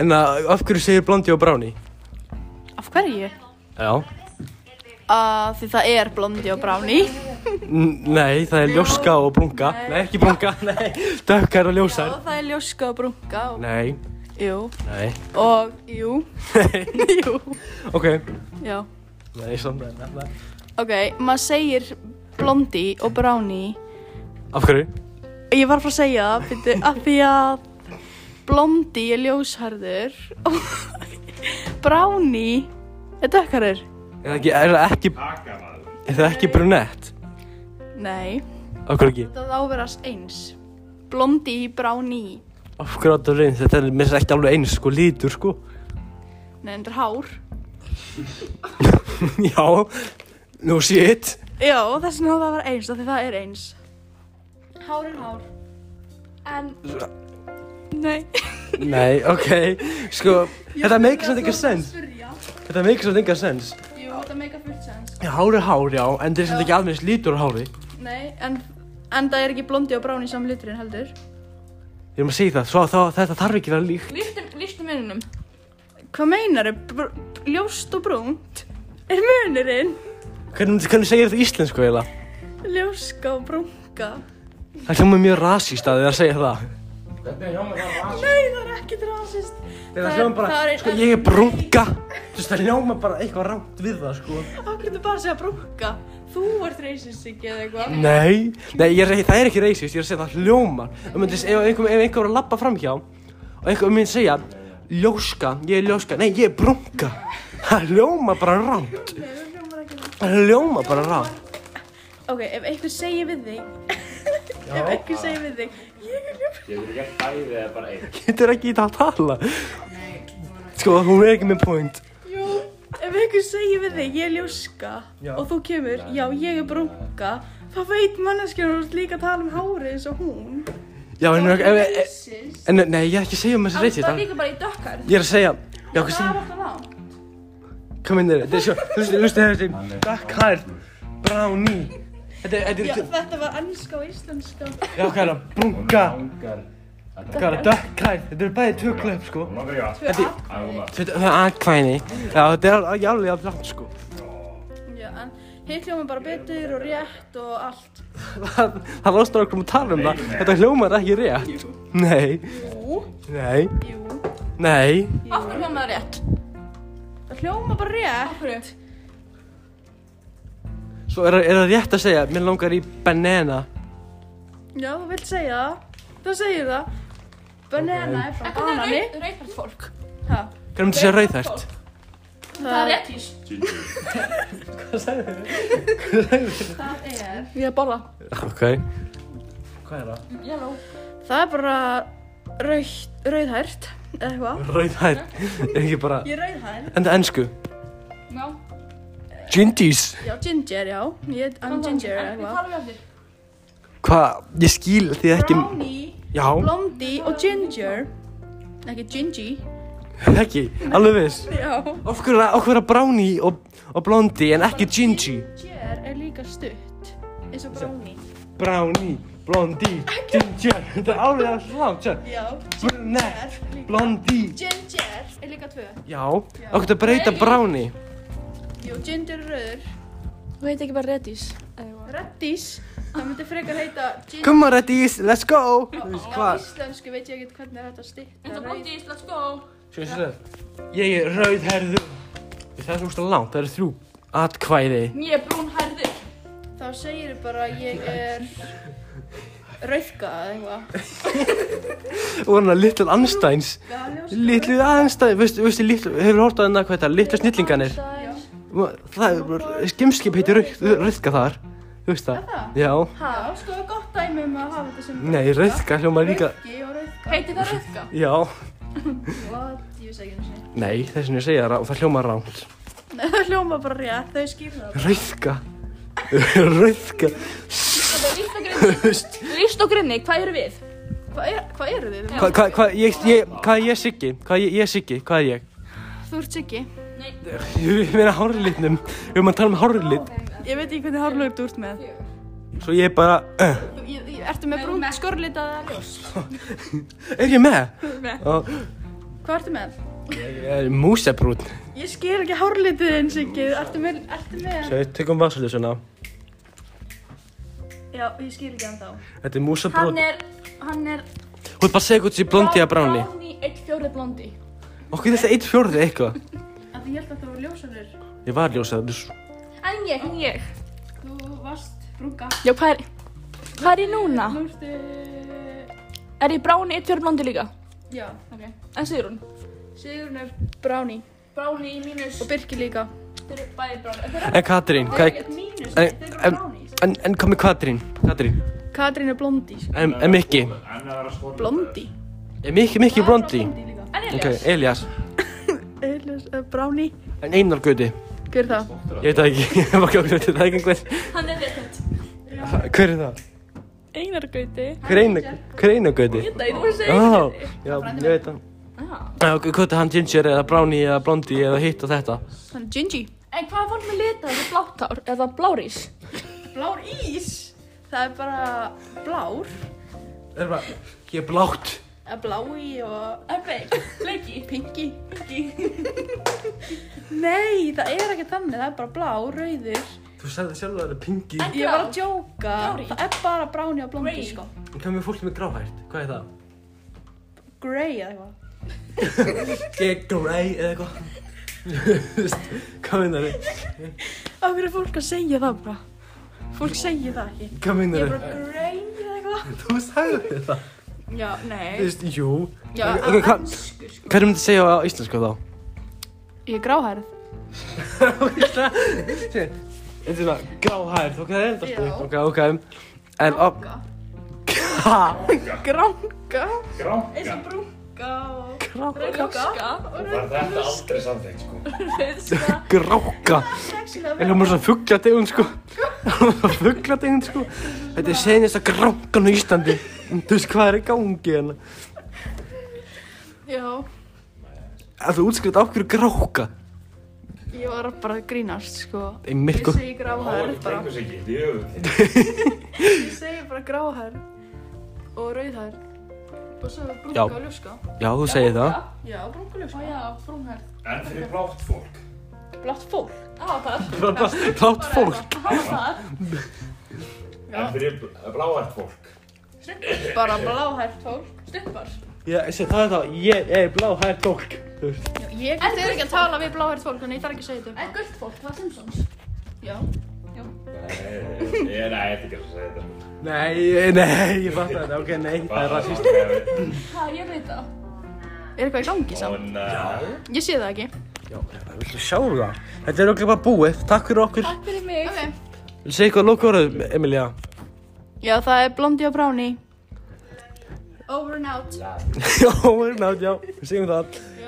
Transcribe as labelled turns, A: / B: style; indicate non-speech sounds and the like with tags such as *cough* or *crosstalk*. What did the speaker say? A: En að, af hverju segir blondi og bráni?
B: Af hverju?
A: Já
B: Uh, því það er blondi og bráni.
A: Nei, það er ljóska og brunga Nei, ekki brunga, *laughs* nei Dökkar og ljósar
B: Og það er ljóska og brunga og...
A: Nei,
B: Jú.
A: nei
B: Og, jú. *laughs* jú.
A: *laughs* Ok
B: Já.
A: Nei, samt að- nei, nei.
B: Ok, maður segir blondi og bráni.
A: Af hverju?
B: Ég var frá að segja það, byrju, af því að blondi er ljósharður og *laughs* bráni er dökkarur.
A: Er það ekki, er það ekki Er það ekki brunett?
B: Nei,
A: Af hverju ekki?
B: það áverast eins. Blondi, bráni.
A: Af hverju áttu að reyna þetta er mér ekki alveg eins sko lítur sko *laughs*
B: Nei, þetta er hár.
A: Já, no shit
B: Já, þess vegna á það að vera eins, af því það er eins. Hár er hár.
C: En
B: Nei.
A: Nei, ok, sko Þetta meikir samt enga sens
B: Spyrja.
A: Þetta meikir samt enga sens
B: Jú, þetta meika fullt sens.
A: Já, hár er hár, já, en það er samt ekki alveg lítur á hári
B: Nei, en, en það er ekki blondi og bráni saman liturinn heldur.
A: Ég erum að segja það, svo þá, þetta þarf ekki að vera líkt
C: lístu mununum.
B: Hvað meinar er ljóst og brúnt? Er munurinn
A: Hvernig, hvernig segir þetta íslensku eiginlega?
B: ljóska og brúnka?
A: Það hljómar mjög rasíst að þið að segja það.
B: Nei, það er ekkert rasist.
A: Það,
B: er-
A: hljómar bara,
B: það er-
A: sko, ég er brunga. Þú veist, það hljómar bara eitthvað rámt við það, sko.
B: Akkur þú bara að segja brúnka. Þú ert racist ekki eða eitthvað.
A: Nei, nei, ég er, ekki- það er ekki reisist, ég er að segja það hljómar. Ef myndist, ef einhver, ef einhver var að labba framhjá og einhver myndi segja, ljóska, ég er ljóska, nei, ég er brunga. Það hljómar bara rámt. Það hljómar bara rámt.
B: Ok, ef einhver segir við þig, ef einhver segir við þig, ég er ljóst.
D: Ég vil ekki bæði eða bara einn.
A: Getur ekki í það að tala. Sko, hún er ekki með point.
B: Jú, ef einhver segir við þig, ég er ljóska
A: Já.
B: og þú kemur, já, ég er brúnka, þá veit manneskjörn og þú ert líka að tala um hárið eins og hún.
A: Já, en, en, en,
C: Sins.
A: en nei, ég er ekki að segja um þessi reisist.
C: Það er líka bara í dökkar.
A: Ég er að segja, já, hvað segir
C: Það er alltaf langt.
A: Kom inn þér, þetta er svo, hlustu, hlustu, hlustu, dökkhær, bráni, þetta er, þetta
B: Já,
A: er,
B: þetta var ennska og íslenska.
A: já, hvað er það, brunga,
D: Ungar.
A: hvað er það, dökkhær, þetta er bæði tvö klöp, sko.
D: Hún var verið
A: Þetta er, þetta það er aðkvæðinni, já, þetta er alveg alveg alveg langt, sko.
B: Já, en hitt hljóma bara betur og rétt og allt.
A: Það, það losnar okkur um að tala um það, þetta hljómar ekki rétt. Nei,
B: Jú,
A: nei,
B: jú.
A: nei,
C: Af hverju hljóma það rétt?
B: Það hljóma bara rétt. Hverju?
A: svo er, er það rétt að segja, mér langar í banana.
B: Já, þú vilt segja það. Það segir það. Banana er frá
C: En hvað
B: banani.
C: er rauðfært fólk?
B: Ha,
A: Hvernig myndi segja rauðhært?
C: Það er réttís.
B: Það er... Ég er bolla.
A: Ok. Hvað er það?
C: Yellow.
B: Það er bara rauð, rauðhært, eða eitthvað.
A: Rauðhært, er ekki bara,
B: *laughs* Ég er rauðhært.
A: en það ennsku,
C: Já.
A: gindís.
B: Já, ginger, já. Ég er I'm ginger, eða
C: Við
B: eitthvað.
C: talum við aftur.
A: Hvað, ég skil því ekki
B: Brownie,
A: Já,
B: blondie og ginger. Ekki gingy.
A: ekki, alveg viss
B: Já.
A: Af hverju af hverju er brownie og, og blondi en ekki gingy?
B: Ginger er líka stutt. Eins og brownie.
A: Brownie, blondi, ginger Þetta er alveg alls langt, sér
B: Já.
A: Brunette, blondi
B: Ginger er líka tvö.
A: Já, af hverju að breyta brownie?
B: Jú, ginger er rauður.
C: Þú heit ekki bara réttís.
B: Reddís. Það myndi frekar heita ginger.
A: Come on, Reddies, let's go Þú veist
B: Á
A: hvað?
B: íslensku veit ég ekkert hvernig er þetta stitt.
C: Þetta er blondís, let's go.
A: Sjá, sjá, sjá Ég er rauðherður Það er svona langt, það eru þrjú atkvæði
C: Ég er brún herður.
B: Þá segir bara ég er rauðka eða eitthvað.
A: Og hann að Little Einsteins
B: Já, ljós.
A: Little Einsteins, veistu, veistu, little- hefur hort á hennar hvað þetta? Little snillinganir
B: Já.
A: Það er, skimskip heitir rauðka þar, þú veist það?
B: það?
A: Já,
B: Ha, sko gott dæmi um að hafa þetta sem
A: nei, rauðka hljóma líka,
B: Rauðki og rauðka.
C: Heiti það rauðka?
A: já,
B: What? Ég vissi ekki eins og
A: nei, þess vegna ég segja það og það hljóma rámt.
B: *laughs* Nei, það hljóma bara rétt, þau skýrðu það.
A: Rauðka, *laughs* rauðka,
C: Þetta er líst og *laughs* grinni. Líst og grinni, hvað eru við?
B: Hvað er, hva eru þið?
A: hvað, hvað, hvað, ég, ég, hvað er ég Siggi? Hvað er ég, ég er Siggi, hvað er ég?
B: Þú ert Siggi.
C: Nei.
A: Ég meina hárlitnum, við erum að tala um hárlit,
B: Ég veit ekki hvernig hárlögur þú ert með.
A: svo ég er bara, uh,
B: Þú- ég- ég- Ertu með brúnt skorlitað eða ljós?
A: "Eh, er ég með?
B: Þú ert með.
A: Og,
B: Hvað ertu með?
A: Músebrún
B: Ég skil ekki hárlitið eins og ekki. Ertu með, ertu með?
A: Svo, tökum vasaljósuna
B: Já, ég skil ekki hann þá.
A: Þetta er músebrún
C: Hann er, hann er
A: Þú ert bara að segja hvort þessi blondi að bráni
C: Bráni, eitt fjóri blondi
A: Okkur þetta eitt fjórði eitthvað
B: Af því ég held að það voru ljósarir.
A: Ég var ljósaður
C: En ég, en ég
B: Þú varst brunga.
C: Já, hvað er, hvað er ég núna?
B: Nú ertu...
C: Er ég bráni, eitt fjóri blondi líka?
B: Já, ok.
C: En sigur hún
B: Sigurinn er bráni.
C: Bráni í mínus
B: Og Birki líka.
C: Þeir eru bæði bráni Þeir
A: En Katrín, hvað er
C: mínus,
A: En, en, en, en hvað með Katrín? Katrín
B: Katrín er blondi. sko.
A: En, en Mikki
D: Anna var að skora
B: Blondi?
A: Er Mikki, Mikki blondi?
B: líka.
C: En
A: Ok,
C: Elias
A: Elias
B: Elias er bráni.
A: En Einar Gauti
B: eh, Hver er það?
A: Ég veit það ekki *laughs* Ég var ekki Það er ekki einhver
C: Hann er rétt
A: Hver er það?
C: Einar Gauti
A: Hver er Einar- hver er Einar Gauti?
C: Þetta er þú segir
A: Já, já, ég veit það Já, ok, Hvað er hann ginger eða brownie eða blondi eða hitt og þetta?
B: Hann er Gingy.
C: En hvað var með lita? Er það blátt hár? Er það blárís?
B: Blár ís. Það er bara blár.
A: Það er bara, ég er blátt
B: Eða blái og eh,
C: Er bleik? Bleiki?
B: pinki. *laughs* Nei, það er ekki þannig. Það er bara blár, rauður.
A: Þú sagði sjálf að það er pingi
C: En-
B: Ég var að djóka.
C: Blár í.
B: Það er bara bráni og blondi,
C: Grey.
B: sko.
A: Hvað með fólk með gráhært? Hvað er það?
B: Grey eða eitthvað.
A: Ég er grey eða eitthvað *laughs* Þú veist, Hvað meinar þið?
B: Af hverju er fólk að segja það bara? Fólk segja það ekki.
A: Hvað
B: Ég er
A: meinar
B: bara grey eða eitthvað.
A: Þú sagði það
B: Já,
A: Þú
B: nei.
A: veist, jú
B: Já, sko.
A: Ok,
B: á
A: hvað- Hvað er myndið að segja á íslensku þá?
B: Ég er gráhærð.
A: Þetta er svona gráhært, ok, það er enda
B: Já.
A: spurt Ok, ok En, op Ha,
B: Granga.
D: Granka
B: Brunga og...
A: gráka
D: Var þetta aldrei samþekkt sko
A: Gráka Er það mjög svona fuggladegun sko *laughs* Fuggladegun sko Þetta er senasta gránkan á Íslandi Þú veist hvað er í gangi hérna
B: Já,
A: Að þú útskriðt af hverju gráka
B: ég var bara að grínast, sko.
A: Einmitt
B: Ég
A: sko
B: segi gráhærð
D: Það
B: bara.
D: tengur sig ekki Jú
B: Ég segi bara gráhærð og rauðhærð. Og svo brunga
A: Já.
B: og ljuska.
A: Já, þú segir það
B: Já, brunga og ljuska.
C: Já, brúnhærð
D: En fyrir blátt fólk
B: Blátt fólk.
C: Já, það
A: Látt fólk
D: En fyrir bl- bláært fólk
B: Bara bláhært fólk.
C: Stuppar
A: Já, ég segi, það er það Ég er bláhært fólk Þú veist
B: Já, ég
C: En
B: þið
C: þú-
B: ekki að tala við bláhært fólk, þannig ég þarf ekki að segja þetta.
C: En gullt fólk, það er Simpsons
B: Já.
D: Eh, Nei, nei, þetta er ekki að segja þetta
A: Nei, nei, ég fatt þetta Ok, nei, það er rasist
D: rasist
C: Ha, ég veit það
B: Er eitthvað í gangi
D: Ó,
B: samt?
D: nei
B: Ég sé það ekki.
A: Já, villu sjá um það Þetta er okkur bara búið Takk fyrir okkur
C: Takk fyrir mig
B: Ok.
A: Vil segja eitthvað lókórað, Emilia *laughs*
B: Já, það er blondi og bráni. Over and out.
A: Já, við erum nátt, já Við segjum það